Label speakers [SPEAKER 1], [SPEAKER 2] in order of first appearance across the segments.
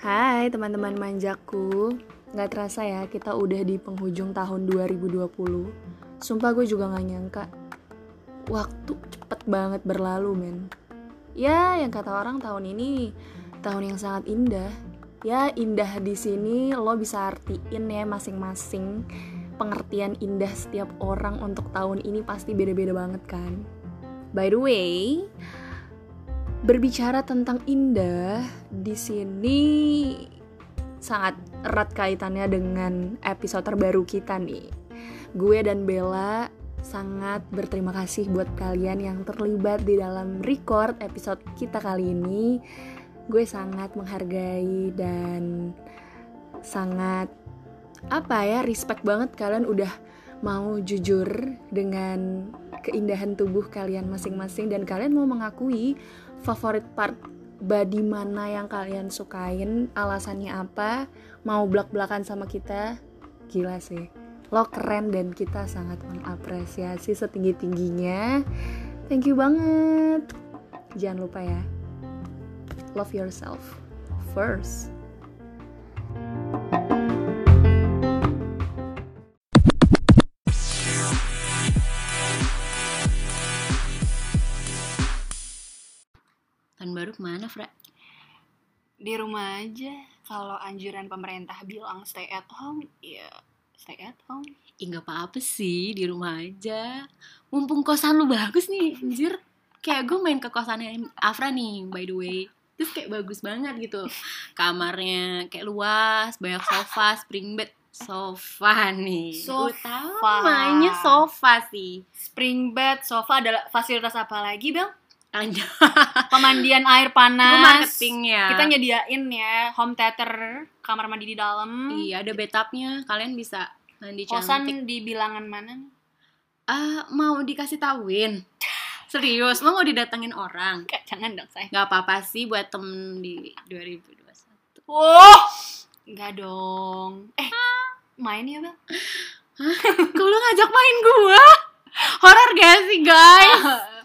[SPEAKER 1] Hai teman-teman manjaku Gak terasa ya kita udah di penghujung tahun 2020 Sumpah gue juga gak nyangka Waktu cepet banget berlalu men Ya yang kata orang tahun ini tahun yang sangat indah Ya indah di sini lo bisa artiin ya masing-masing Pengertian indah setiap orang untuk tahun ini pasti beda-beda banget kan By the way, berbicara tentang indah di sini sangat erat kaitannya dengan episode terbaru kita nih. Gue dan Bella sangat berterima kasih buat kalian yang terlibat di dalam record episode kita kali ini. Gue sangat menghargai dan sangat apa ya respect banget kalian udah mau jujur dengan keindahan tubuh kalian masing-masing dan kalian mau mengakui favorit part body mana yang kalian sukain, alasannya apa, mau belak-belakan sama kita, gila sih. Lo keren dan kita sangat mengapresiasi setinggi-tingginya. Thank you banget. Jangan lupa ya. Love yourself first.
[SPEAKER 2] Tahun Kan baru kemana, Fra?
[SPEAKER 1] Di rumah aja. Kalau anjuran pemerintah bilang stay at home, ya stay at home.
[SPEAKER 2] Ih, nggak apa-apa sih, di rumah aja. Mumpung kosan lu bagus nih, anjir. Kayak gue main ke kosannya Afra nih, by the way. Terus kayak bagus banget gitu. Kamarnya kayak luas, banyak sofa, spring bed. Sofa nih.
[SPEAKER 3] Sofa.
[SPEAKER 2] Utamanya sofa sih.
[SPEAKER 3] Spring bed, sofa adalah fasilitas apa lagi, Bel?
[SPEAKER 2] Anjir,
[SPEAKER 3] Pemandian air
[SPEAKER 2] gue
[SPEAKER 3] panas.
[SPEAKER 2] marketing ya.
[SPEAKER 3] Kita nyediain ya home theater, kamar mandi di dalam.
[SPEAKER 2] Iya, ada bathtubnya. Kalian bisa mandi
[SPEAKER 3] Kosan
[SPEAKER 2] cantik.
[SPEAKER 3] di bilangan mana? nih?
[SPEAKER 2] Ah, mau dikasih tawin? Serius, lo mau didatengin orang?
[SPEAKER 3] Enggak, jangan dong, saya.
[SPEAKER 2] nggak apa-apa sih buat temen di 2021
[SPEAKER 3] Oh! Enggak dong. Eh, main ya, Bel?
[SPEAKER 2] Kok lu ngajak main gua? Horor gak sih guys?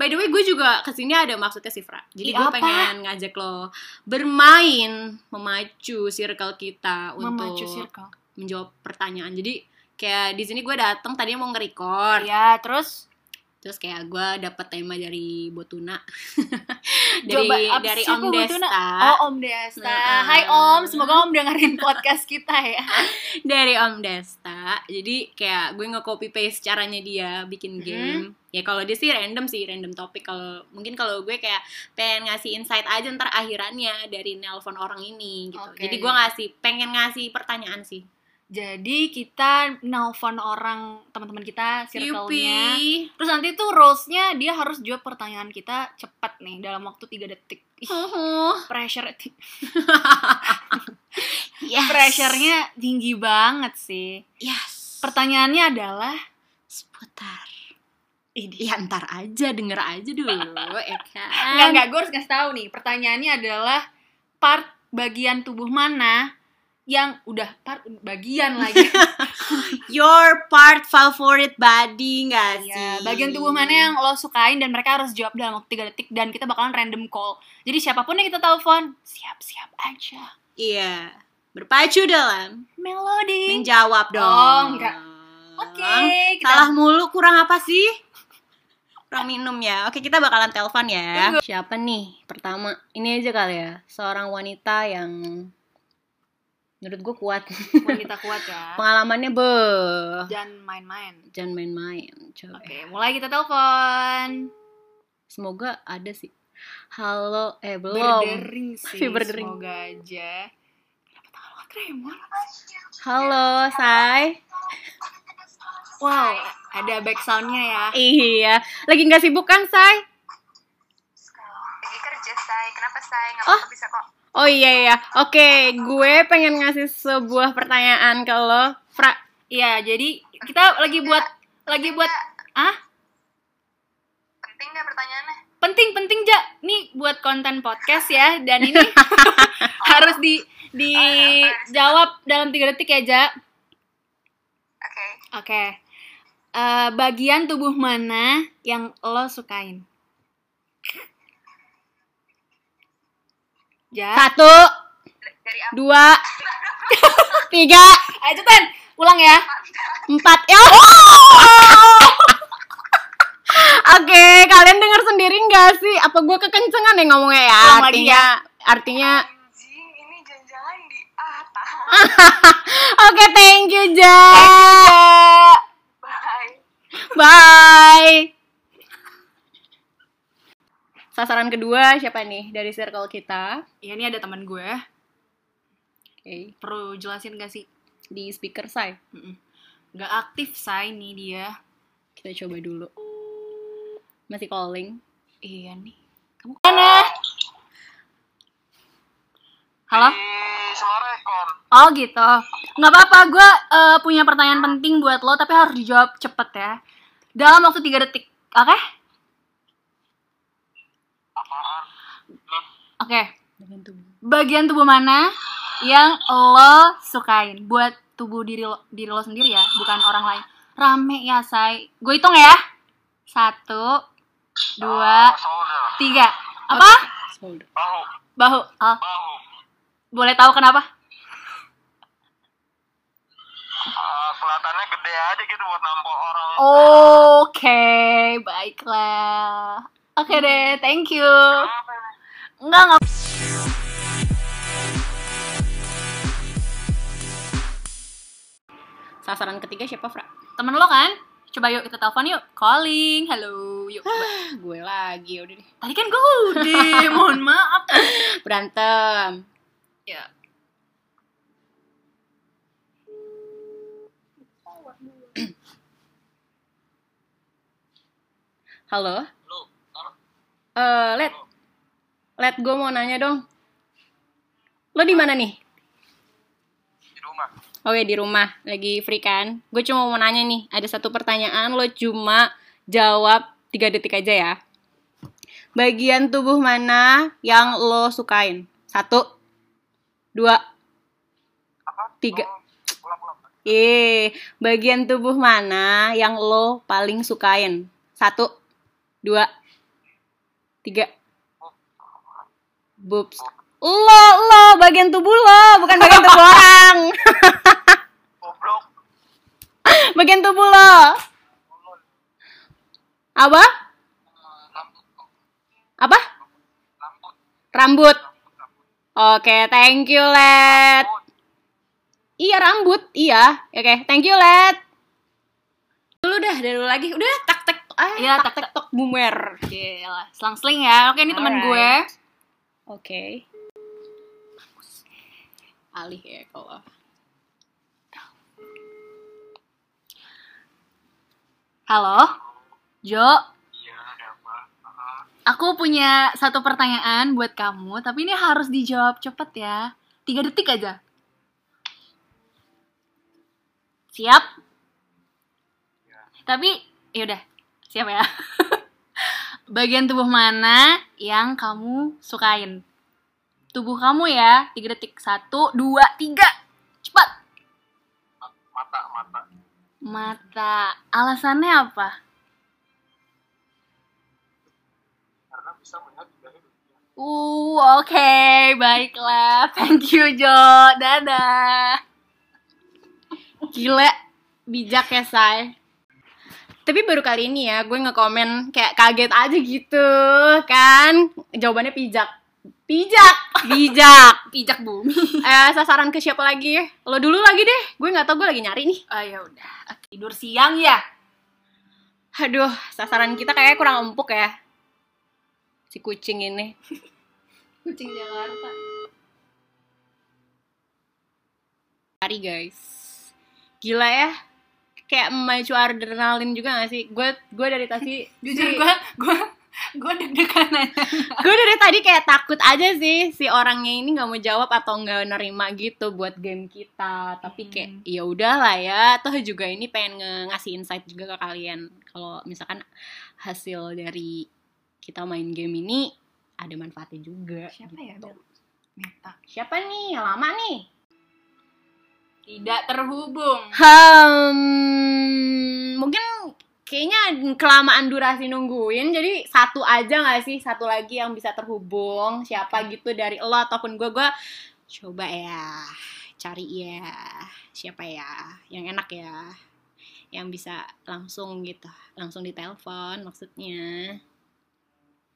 [SPEAKER 2] By the way gue juga kesini ada maksudnya sih Fra Jadi
[SPEAKER 3] Ih,
[SPEAKER 2] gue
[SPEAKER 3] apa?
[SPEAKER 2] pengen ngajak lo bermain Memacu circle kita
[SPEAKER 3] Memacu
[SPEAKER 2] untuk
[SPEAKER 3] circle.
[SPEAKER 2] menjawab pertanyaan Jadi kayak di sini gue datang tadinya mau nge-record
[SPEAKER 3] Iya, terus
[SPEAKER 2] Terus kayak gue dapet tema dari Botuna Dari,
[SPEAKER 3] Coba, apa
[SPEAKER 2] dari
[SPEAKER 3] sih,
[SPEAKER 2] Om
[SPEAKER 3] Bu
[SPEAKER 2] Desta
[SPEAKER 3] Botuna? oh Om Desta. Hai Om, semoga Om dengerin podcast kita ya.
[SPEAKER 2] dari Om Desta. Jadi kayak gue nge-copy paste caranya dia bikin
[SPEAKER 3] Mhm.
[SPEAKER 2] game. Ya kalau dia sih random sih, random topik. Kalau mungkin kalau gue kayak pengen ngasih insight aja ntar akhirannya dari nelpon orang ini gitu.
[SPEAKER 3] Oke.
[SPEAKER 2] Jadi gue ngasih pengen ngasih pertanyaan sih.
[SPEAKER 3] Jadi kita nelpon orang teman-teman kita circle-nya.
[SPEAKER 2] Yupi.
[SPEAKER 3] Terus nanti tuh rules-nya dia harus jawab pertanyaan kita cepat nih dalam waktu 3 detik. Ih,
[SPEAKER 2] Uhuh.
[SPEAKER 3] pressure ti-
[SPEAKER 2] Yes.
[SPEAKER 3] pressure-nya tinggi banget sih.
[SPEAKER 2] Yes.
[SPEAKER 3] Pertanyaannya adalah
[SPEAKER 2] Seputar.
[SPEAKER 3] ini.
[SPEAKER 2] Ya ntar aja denger aja dulu ya kan.
[SPEAKER 3] Enggak enggak gue harus ngasih tahu nih. Pertanyaannya adalah part bagian tubuh mana yang udah part bagian lagi.
[SPEAKER 2] Your part favorite body gak sih?
[SPEAKER 3] Iya, bagian tubuh mana yang lo sukain dan mereka harus jawab dalam waktu 3 detik dan kita bakalan random call. Jadi siapapun yang kita telepon, siap-siap aja.
[SPEAKER 2] Iya. Berpacu dalam
[SPEAKER 3] Melody.
[SPEAKER 2] menjawab dong.
[SPEAKER 3] Oh, enggak. Oke, kita
[SPEAKER 2] Salah mulu kurang apa sih? Kurang minum ya. Oke, kita bakalan telepon ya. Siapa nih? Pertama, ini aja kali ya. Seorang wanita yang menurut gue kuat.
[SPEAKER 3] wanita kuat ya.
[SPEAKER 2] Pengalamannya be
[SPEAKER 3] Jangan main-main.
[SPEAKER 2] jangan main-main. Coba.
[SPEAKER 3] Oke, mulai kita telepon.
[SPEAKER 2] Semoga ada sih. Halo, eh belum.
[SPEAKER 3] Berdering sih.
[SPEAKER 2] Masih berdering.
[SPEAKER 3] Semoga aja. Kenapa tangan lo tremor?
[SPEAKER 2] Halo, Say.
[SPEAKER 3] Wow, ada back soundnya ya.
[SPEAKER 2] Iya, lagi nggak sibuk kan, Say?
[SPEAKER 4] Lagi kerja, Say. Kenapa, Say? Nggak
[SPEAKER 2] Oh.
[SPEAKER 4] apa-apa, bisa kok.
[SPEAKER 2] Oh iya iya, oke, gue pengen ngasih sebuah pertanyaan ke lo, Fra.
[SPEAKER 3] Iya, jadi kita lagi buat lagi buat ah
[SPEAKER 4] Penting nggak pertanyaannya?
[SPEAKER 3] penting penting ja nih buat konten podcast ya dan ini harus di
[SPEAKER 4] Iya.
[SPEAKER 3] dijawab dalam tiga detik ya ja
[SPEAKER 4] Oke.
[SPEAKER 3] oke Eh, bagian tubuh mana yang lo sukain ja
[SPEAKER 2] Satu,
[SPEAKER 4] D- Dari apa?
[SPEAKER 3] dua, tiga. Ayo Tan, Eh, ulang ya. Empat. Ya. oh!
[SPEAKER 2] Oke, kalian dengar sendiri nggak sih? Apa gue kekencengan ya ngomongnya ya?
[SPEAKER 3] Ulang lagi
[SPEAKER 2] artinya, artinya.
[SPEAKER 4] Anjing, ini jangan-jangan di ah tahan.
[SPEAKER 2] Oke, thank you Ja.
[SPEAKER 4] Bye.
[SPEAKER 2] Bye. Sasaran kedua siapa nih dari circle kita?
[SPEAKER 3] Iya ini ada teman gue.
[SPEAKER 2] Oke,
[SPEAKER 3] Perlu jelasin gak sih?
[SPEAKER 2] di speaker saya.
[SPEAKER 3] Mm-mm. Gak aktif say nih dia.
[SPEAKER 2] Kita coba dulu. Masih calling.
[SPEAKER 3] Iya nih. Kamu kemana? Halo?
[SPEAKER 4] Di Semarekon.
[SPEAKER 3] Oh gitu. Nggak apa-apa, gue eh, punya pertanyaan penting buat lo, tapi harus dijawab cepet ya. Dalam waktu 3 detik, oke? Oke,
[SPEAKER 2] Dengan tubuh.
[SPEAKER 3] bagian tubuh mana yang lo sukain buat tubuh diri lo, diri lo sendiri ya, bukan orang lain. Rame ya, say. Gue hitung ya. Satu, dua,
[SPEAKER 4] Shoulder.
[SPEAKER 3] tiga. Apa?
[SPEAKER 2] Shoulder.
[SPEAKER 4] Bahu.
[SPEAKER 3] Bahu. Oh,
[SPEAKER 4] Bahu.
[SPEAKER 3] boleh tahu kenapa?
[SPEAKER 4] Ah, kelihatannya gede aja gitu buat nampol orang.
[SPEAKER 3] Oh. Oke, baiklah. Oke deh, thank you.
[SPEAKER 4] Apa ini?
[SPEAKER 3] Enggak, enggak.
[SPEAKER 2] Sasaran ketiga siapa, Fra?
[SPEAKER 3] Temen lo kan? Coba yuk kita telepon yuk. Calling, halo. Yuk. coba.
[SPEAKER 2] Ah, Gue lagi, udah deh. Ah,
[SPEAKER 3] Tadi kan gue udah, mohon maaf.
[SPEAKER 2] Berantem.
[SPEAKER 3] Ya.
[SPEAKER 2] Halo. Eh, let. Let gue mau nanya dong. Lo di mana nih?
[SPEAKER 4] Di rumah.
[SPEAKER 2] Oke, di rumah. Lagi free kan? Gue cuma mau nanya nih, ada satu pertanyaan lo cuma jawab 3 detik aja ya. Bagian tubuh mana yang lo sukain? Satu, dua, tiga. Eh, bagian tubuh mana yang lo paling sukain? Satu, dua, tiga. Boobs. Lo, lo, bagian tubuh lo, bukan bagian tubuh orang.
[SPEAKER 4] Goblok.
[SPEAKER 2] bagian tubuh lo. Apa? Apa? Rambut. Oke, thank you, Let. Iya, rambut. Iya. Oke, thank you, Let. Dulu dah, dari dulu lagi. Udah, tak tak ah,
[SPEAKER 3] Iya,
[SPEAKER 2] tak tak tok boomer.
[SPEAKER 3] Gila, selang-seling ya. Oke, ini teman gue.
[SPEAKER 2] Alright. Oke. Alih ya kalau.
[SPEAKER 3] Halo. Jo,
[SPEAKER 4] Iya, ada apa? Ah,
[SPEAKER 3] aku punya satu pertanyaan buat kamu, tapi ini harus dijawab cepet ya. Tiga detik aja. Siap? Tapi, yaudah, siap ya. Bagian tubuh mana yang kamu sukain? Tubuh kamu ya, tiga detik. Satu, dua, tiga. Cepat.
[SPEAKER 4] mata, mata.
[SPEAKER 3] Mata. Alasannya apa?
[SPEAKER 4] Karena bisa melihat di dalam dunia.
[SPEAKER 3] Uh, oke, baiklah. Thank you, Jo. Dadah.
[SPEAKER 2] Gila, bijak ya, Say. Tapi baru kali ini ya, gue ngekomen kayak kaget aja gitu, kan? Jawabannya pijak. Pijak, bijak.
[SPEAKER 3] Pijak bumi.
[SPEAKER 2] Eh, sasaran ke siapa lagi? Lo dulu lagi deh, gue nggak tau gue lagi nyari nih.
[SPEAKER 3] Oh, ya udah. Tidur siang ya?
[SPEAKER 2] Aduh, sasaran kita kayaknya kurang empuk ya. Si kucing ini.
[SPEAKER 3] Kucing Jakarta.
[SPEAKER 2] Hari guys. Gila ya. Kayak memacu adrenalin juga gak sih? Gue gue dari tadi si-
[SPEAKER 3] Jujur gue gue gue deg-degan aja.
[SPEAKER 2] gue dari tadi kayak takut aja sih si orangnya ini nggak mau jawab atau nggak nerima gitu buat game kita. Tapi kayak
[SPEAKER 3] Hmm.
[SPEAKER 2] ya udahlah ya. Toh juga ini pengen nge- ngasih insight juga ke kalian kalau misalkan hasil dari kita main game ini ada manfaatnya juga.
[SPEAKER 3] Siapa ya,
[SPEAKER 2] gitu.
[SPEAKER 3] Bel? Meta.
[SPEAKER 2] Siapa nih? Yang Lama nih.
[SPEAKER 3] Tidak terhubung.
[SPEAKER 2] Hmm, mungkin kayaknya kelamaan durasi nungguin jadi satu aja nggak sih satu lagi yang bisa terhubung siapa gitu dari lo ataupun gue gue Coba ya, cari ya, siapa ya, yang enak ya, yang bisa langsung gitu, langsung ditelepon maksudnya.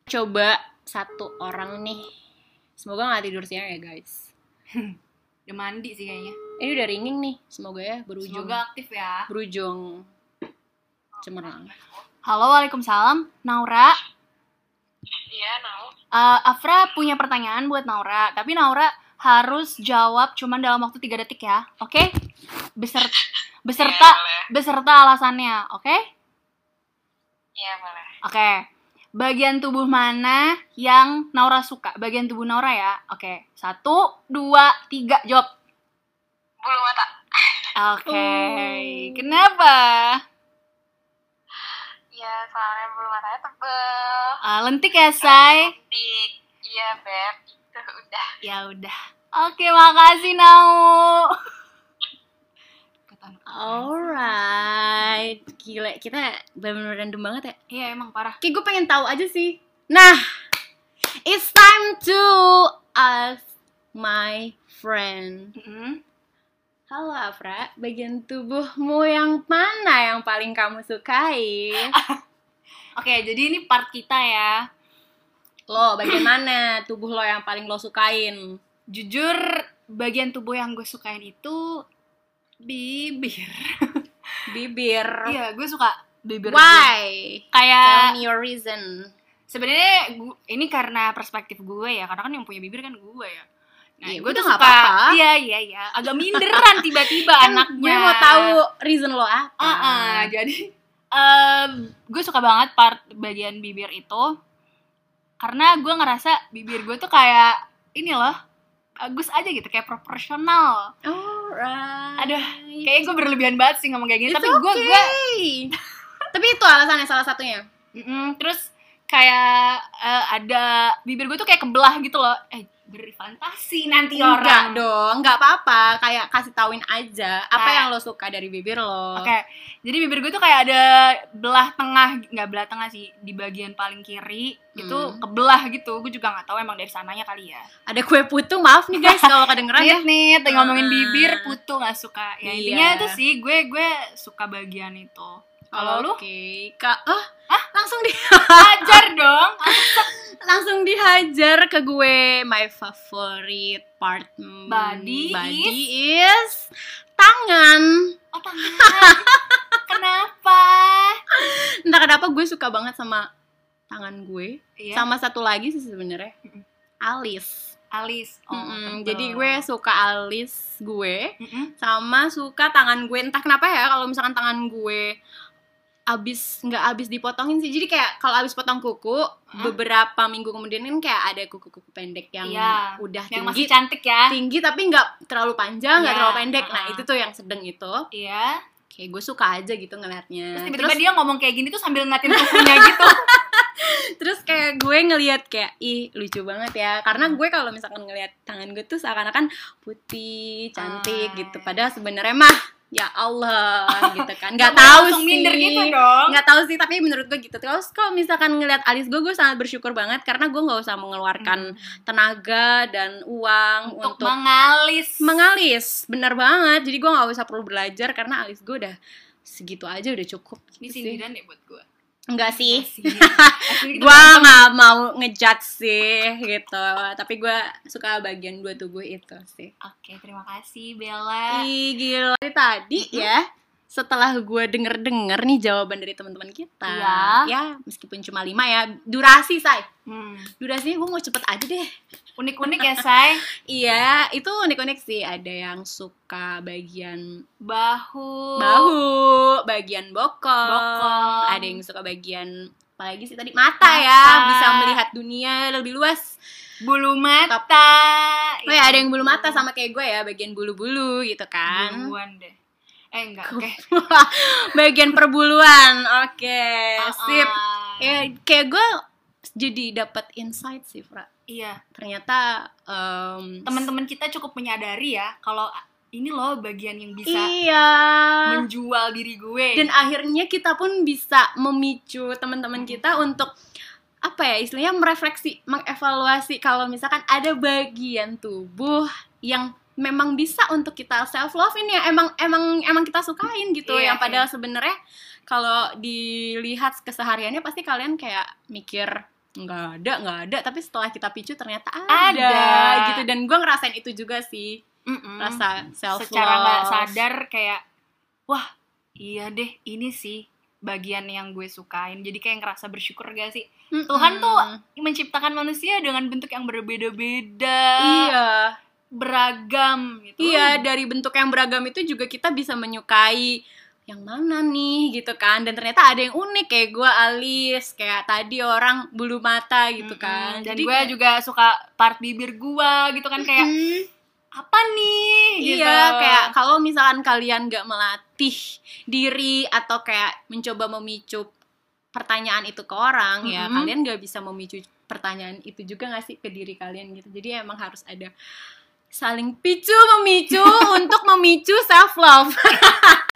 [SPEAKER 2] Coba satu orang nih, semoga nggak tidur siang ya guys.
[SPEAKER 3] Udah mandi sih kayaknya.
[SPEAKER 2] Ini udah ringing nih, semoga ya berujung
[SPEAKER 3] Semoga aktif ya.
[SPEAKER 2] berujung cemerlang.
[SPEAKER 3] Halo, waalaikumsalam. Naura,
[SPEAKER 4] Iya, mau.
[SPEAKER 3] eh, Afra punya pertanyaan buat Naura, tapi Naura harus jawab cuman dalam waktu 3 detik ya, oke? Beserta, beserta,
[SPEAKER 4] boleh.
[SPEAKER 3] beserta alasannya, oke?
[SPEAKER 4] Iya, boleh.
[SPEAKER 3] Oke. Bagian tubuh mana yang Naura suka? Bagian tubuh Naura ya. Oke. Satu, dua, tiga. Jawab.
[SPEAKER 4] Bulu mata.
[SPEAKER 3] Oke.
[SPEAKER 2] Oh.
[SPEAKER 3] Kenapa?
[SPEAKER 4] Iya, soalnya bulu matanya tebel.
[SPEAKER 3] Ah, lentik ya, say.
[SPEAKER 4] Tik. Iya, Beb. Itu udah.
[SPEAKER 3] Ya udah. Oke, makasih Nau.
[SPEAKER 2] Alright, gila kita benar-benar random banget ya.
[SPEAKER 3] Iya, emang parah.
[SPEAKER 2] Kayak gue pengen tahu aja sih. Nah, it's time to ask my friend.
[SPEAKER 3] Mm-mm.
[SPEAKER 2] Halo Afra, bagian tubuhmu yang mana yang paling kamu sukai?
[SPEAKER 3] Oke, jadi ini part kita ya.
[SPEAKER 2] Lo, bagian mana tubuh lo yang paling lo sukain?
[SPEAKER 3] Jujur, bagian tubuh yang gue sukain itu bibir.
[SPEAKER 2] Bibir.
[SPEAKER 3] Iya, gue suka bibir. gue.
[SPEAKER 2] Why? Eh,
[SPEAKER 3] Kayak
[SPEAKER 2] Tell me your reason.
[SPEAKER 3] sebenarnya gu- ini karena perspektif gue ya karena kan yang punya bibir kan gue ya nah
[SPEAKER 2] Iya,
[SPEAKER 3] gue
[SPEAKER 2] udah
[SPEAKER 3] tuh
[SPEAKER 2] nggak
[SPEAKER 3] suka
[SPEAKER 2] apa-apa.
[SPEAKER 3] iya iya iya agak minderan tiba-tiba
[SPEAKER 2] Kan
[SPEAKER 3] anaknya
[SPEAKER 2] Gue mau tahu reason lo apa.
[SPEAKER 3] Ah, ah,
[SPEAKER 2] Kan.
[SPEAKER 3] jadi em, gue suka banget part bagian bibir itu karena gue ngerasa bibir gue tuh kayak ini loh bagus aja gitu kayak proporsional
[SPEAKER 2] Alright.
[SPEAKER 3] Aduh, kayaknya gue berlebihan banget sih ngomong kayak gini
[SPEAKER 2] It's
[SPEAKER 3] tapi gue
[SPEAKER 2] okay.
[SPEAKER 3] gue
[SPEAKER 2] tapi itu alasannya salah satunya
[SPEAKER 3] Mm-mm, terus kayak eh, ada bibir gue tuh kayak kebelah gitu loh. Eh, berfantasi nanti
[SPEAKER 2] enggak
[SPEAKER 3] Iya, orang.
[SPEAKER 2] dong enggak apa-apa kayak kasih tauin aja apa
[SPEAKER 3] Kayak-
[SPEAKER 2] yang lo suka dari bibir lo
[SPEAKER 3] Eh. Oke. Jadi bibir gue tuh kayak ada belah tengah, nggak belah tengah sih, di bagian paling kiri itu
[SPEAKER 2] Hmm.
[SPEAKER 3] kebelah gitu. Gue juga nggak tahu emang dari sananya kali ya.
[SPEAKER 2] ada kue putu maaf nih guys kalau kedengeran ya
[SPEAKER 3] Nit nih, tadi
[SPEAKER 2] Ah.
[SPEAKER 3] ngomongin bibir putu nggak suka.
[SPEAKER 2] Iya.
[SPEAKER 3] Ya intinya itu sih gue gue suka bagian itu. Kalau lu
[SPEAKER 2] ya. oke Ka- ah, langsung di
[SPEAKER 3] ajar dong.
[SPEAKER 2] langsung dihajar ke gue my favorite part mm,
[SPEAKER 3] Body
[SPEAKER 2] body is tangan
[SPEAKER 3] Oh, tangan. Kenapa?
[SPEAKER 2] entah kenapa gue suka banget sama tangan gue
[SPEAKER 3] Iya.
[SPEAKER 2] sama satu lagi sih sebenarnya
[SPEAKER 3] Mm-mm.
[SPEAKER 2] alis
[SPEAKER 3] alis. Oh,
[SPEAKER 2] Mm-mm,
[SPEAKER 3] tebel.
[SPEAKER 2] jadi gue suka alis gue
[SPEAKER 3] Mm-mm.
[SPEAKER 2] sama suka tangan gue entah kenapa ya kalau misalkan tangan gue abis nggak abis dipotongin sih jadi kayak kalau abis potong kuku
[SPEAKER 3] Hmm.
[SPEAKER 2] beberapa minggu kemudian kan kayak ada kuku-kuku pendek yang
[SPEAKER 3] Iya,
[SPEAKER 2] udah
[SPEAKER 3] yang
[SPEAKER 2] tinggi
[SPEAKER 3] masih cantik ya
[SPEAKER 2] tinggi tapi nggak terlalu panjang nggak
[SPEAKER 3] Iya,
[SPEAKER 2] terlalu pendek nah
[SPEAKER 3] uh-uh.
[SPEAKER 2] itu tuh yang sedang itu
[SPEAKER 3] iya
[SPEAKER 2] kayak gue suka aja gitu ngelihatnya
[SPEAKER 3] terus tiba-tiba
[SPEAKER 2] terus
[SPEAKER 3] dia ngomong kayak gini tuh sambil ngatin kukunya gitu
[SPEAKER 2] terus kayak gue ngelihat kayak ih lucu banget ya
[SPEAKER 3] Hmm.
[SPEAKER 2] karena gue kalau misalkan ngelihat tangan gue tuh seakan-akan putih cantik
[SPEAKER 3] Ah.
[SPEAKER 2] gitu padahal sebenarnya mah ya Allah gitu kan nggak
[SPEAKER 3] Kamu
[SPEAKER 2] tahu sih
[SPEAKER 3] langsung minder gitu dong
[SPEAKER 2] nggak tahu sih tapi menurut gue gitu terus kalau misalkan ngelihat alis gue gue sangat bersyukur banget karena gue nggak usah mengeluarkan tenaga dan uang
[SPEAKER 3] Mm, Hmm.
[SPEAKER 2] untuk,
[SPEAKER 3] untuk, mengalis
[SPEAKER 2] mengalis bener banget jadi gue nggak usah perlu belajar karena alis gue udah segitu aja udah cukup gitu
[SPEAKER 3] ini
[SPEAKER 2] sih.
[SPEAKER 3] sindiran deh buat gue
[SPEAKER 2] enggak sih
[SPEAKER 3] gue
[SPEAKER 2] gue nggak mau ngejudge sih gitu tapi gue suka bagian dua tubuh itu sih
[SPEAKER 3] oke terima kasih Bella
[SPEAKER 2] Ih gila Tapi tadi ya setelah gue denger-denger nih jawaban dari teman-teman kita
[SPEAKER 3] Iya.
[SPEAKER 2] ya meskipun cuma lima ya durasi say
[SPEAKER 3] Hmm,
[SPEAKER 2] durasinya gue mau cepet aja deh
[SPEAKER 3] unik-unik ya say
[SPEAKER 2] iya itu unik-unik sih ada yang suka bagian
[SPEAKER 3] bahu
[SPEAKER 2] bahu bagian bokong,
[SPEAKER 3] Bokong.
[SPEAKER 2] ada yang suka bagian apalagi sih tadi mata, ya
[SPEAKER 3] Mata.
[SPEAKER 2] bisa melihat dunia lebih luas
[SPEAKER 3] bulu mata
[SPEAKER 2] oh ya ada yang bulu mata sama kayak gue ya bagian bulu-bulu gitu kan
[SPEAKER 3] Buluan deh eh enggak oke
[SPEAKER 2] bagian perburuan oke Ya, sip
[SPEAKER 3] Ah, ah.
[SPEAKER 2] ya kayak gue jadi dapat insight sih Fra
[SPEAKER 3] iya
[SPEAKER 2] ternyata mmm, em,
[SPEAKER 3] teman-teman kita cukup menyadari ya kalau ini loh bagian yang bisa
[SPEAKER 2] iya
[SPEAKER 3] menjual diri gue
[SPEAKER 2] dan akhirnya kita pun bisa memicu
[SPEAKER 3] Hmm.
[SPEAKER 2] teman-teman kita untuk apa ya istilahnya merefleksi mengevaluasi kalau misalkan ada bagian tubuh yang memang bisa untuk kita self love ini ya emang emang emang kita sukain gitu
[SPEAKER 3] Iya,
[SPEAKER 2] yang padahal sebenarnya kalau dilihat kesehariannya pasti kalian kayak mikir nggak ada nggak ada tapi setelah kita picu ternyata ada,
[SPEAKER 3] Ada.
[SPEAKER 2] gitu dan gue ngerasain itu juga sih
[SPEAKER 3] Mm-mm.
[SPEAKER 2] rasa self love
[SPEAKER 3] secara nggak sadar kayak wah iya deh ini sih bagian yang gue sukain jadi kayak ngerasa bersyukur gak sih Tuhan tuh menciptakan manusia dengan bentuk yang berbeda-beda
[SPEAKER 2] iya
[SPEAKER 3] beragam gitu
[SPEAKER 2] Iya, dari bentuk yang beragam itu juga kita bisa menyukai yang mana nih gitu kan. Dan ternyata ada yang unik kayak gue alis, kayak tadi orang bulu mata gitu kan.
[SPEAKER 3] Mm-mm. dan gue juga suka part bibir gue gitu kan kayak apa nih gitu.
[SPEAKER 2] Iya, kayak kalau misalkan kalian gak melatih diri atau kayak mencoba memicu pertanyaan itu ke orang ya,
[SPEAKER 3] Mhm.
[SPEAKER 2] kalian gak bisa memicu pertanyaan itu juga gak sih ke diri kalian gitu. Jadi emang harus ada saling picu memicu untuk memicu self love.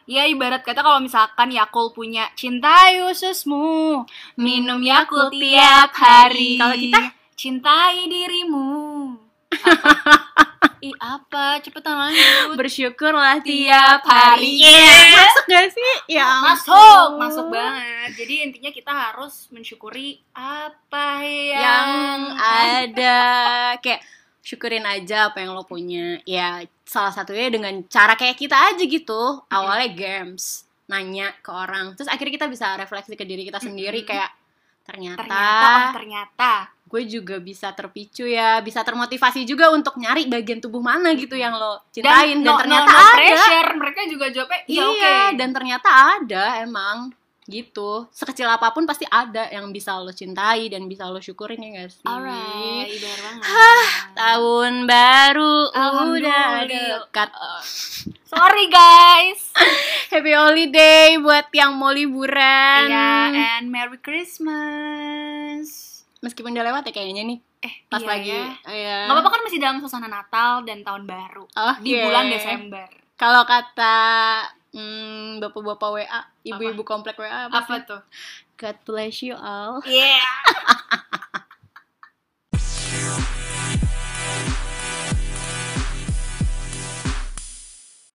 [SPEAKER 3] Ya ibarat kata kalau misalkan Yakul punya cintai ususmu, minum Yakul tiap hari.
[SPEAKER 2] Kalau kita?
[SPEAKER 3] cintai dirimu. Apa? Ih apa? Cepetan lanjut.
[SPEAKER 2] bersyukurlah
[SPEAKER 3] Tiap hari.
[SPEAKER 2] Iya. Masuk gak sih? Ya
[SPEAKER 3] Masuk, masuk banget. Jadi intinya kita harus mensyukuri apa yang,
[SPEAKER 2] Yang ada kayak syukurin aja apa yang lo punya. Ya salah satunya dengan cara kayak kita aja gitu. Awalnya games, nanya ke orang. Terus akhirnya kita bisa refleksi ke diri kita sendiri
[SPEAKER 3] Mm-mm.
[SPEAKER 2] kayak ternyata,
[SPEAKER 3] ternyata oh, ternyata.
[SPEAKER 2] gue juga bisa terpicu ya, bisa termotivasi juga untuk nyari bagian tubuh mana gitu yang lo cintain dan,
[SPEAKER 3] no- no-
[SPEAKER 2] ternyata
[SPEAKER 3] no
[SPEAKER 2] ada.
[SPEAKER 3] pressure. Mereka juga jawabnya iya
[SPEAKER 2] Iya,
[SPEAKER 3] oke.
[SPEAKER 2] dan ternyata ada emang gitu. Sekecil apapun pasti ada yang bisa lo cintai dan bisa lo syukurin ya gak sih?
[SPEAKER 3] Alright, benar banget.
[SPEAKER 2] Tahun baru udah
[SPEAKER 3] Alhamdulillah. Uh.
[SPEAKER 2] dekat.
[SPEAKER 3] Sorry guys.
[SPEAKER 2] Iya, Happy holiday buat yang mau liburan.
[SPEAKER 3] Iya, and Merry Christmas.
[SPEAKER 2] Meskipun udah lewat ya kayaknya nih
[SPEAKER 3] Eh,
[SPEAKER 2] pas
[SPEAKER 3] iya
[SPEAKER 2] lagi.
[SPEAKER 3] ya.
[SPEAKER 2] Iya.
[SPEAKER 3] Nggak apa-apa kan masih dalam suasana Natal dan tahun baru
[SPEAKER 2] Oke.
[SPEAKER 3] di bulan Desember.
[SPEAKER 2] iya. Kalau kata hmm, bapak-bapak WA, ibu-ibu komplek WA apa, sih?
[SPEAKER 3] tuh? Iya.
[SPEAKER 2] God bless you all.
[SPEAKER 3] Yeah.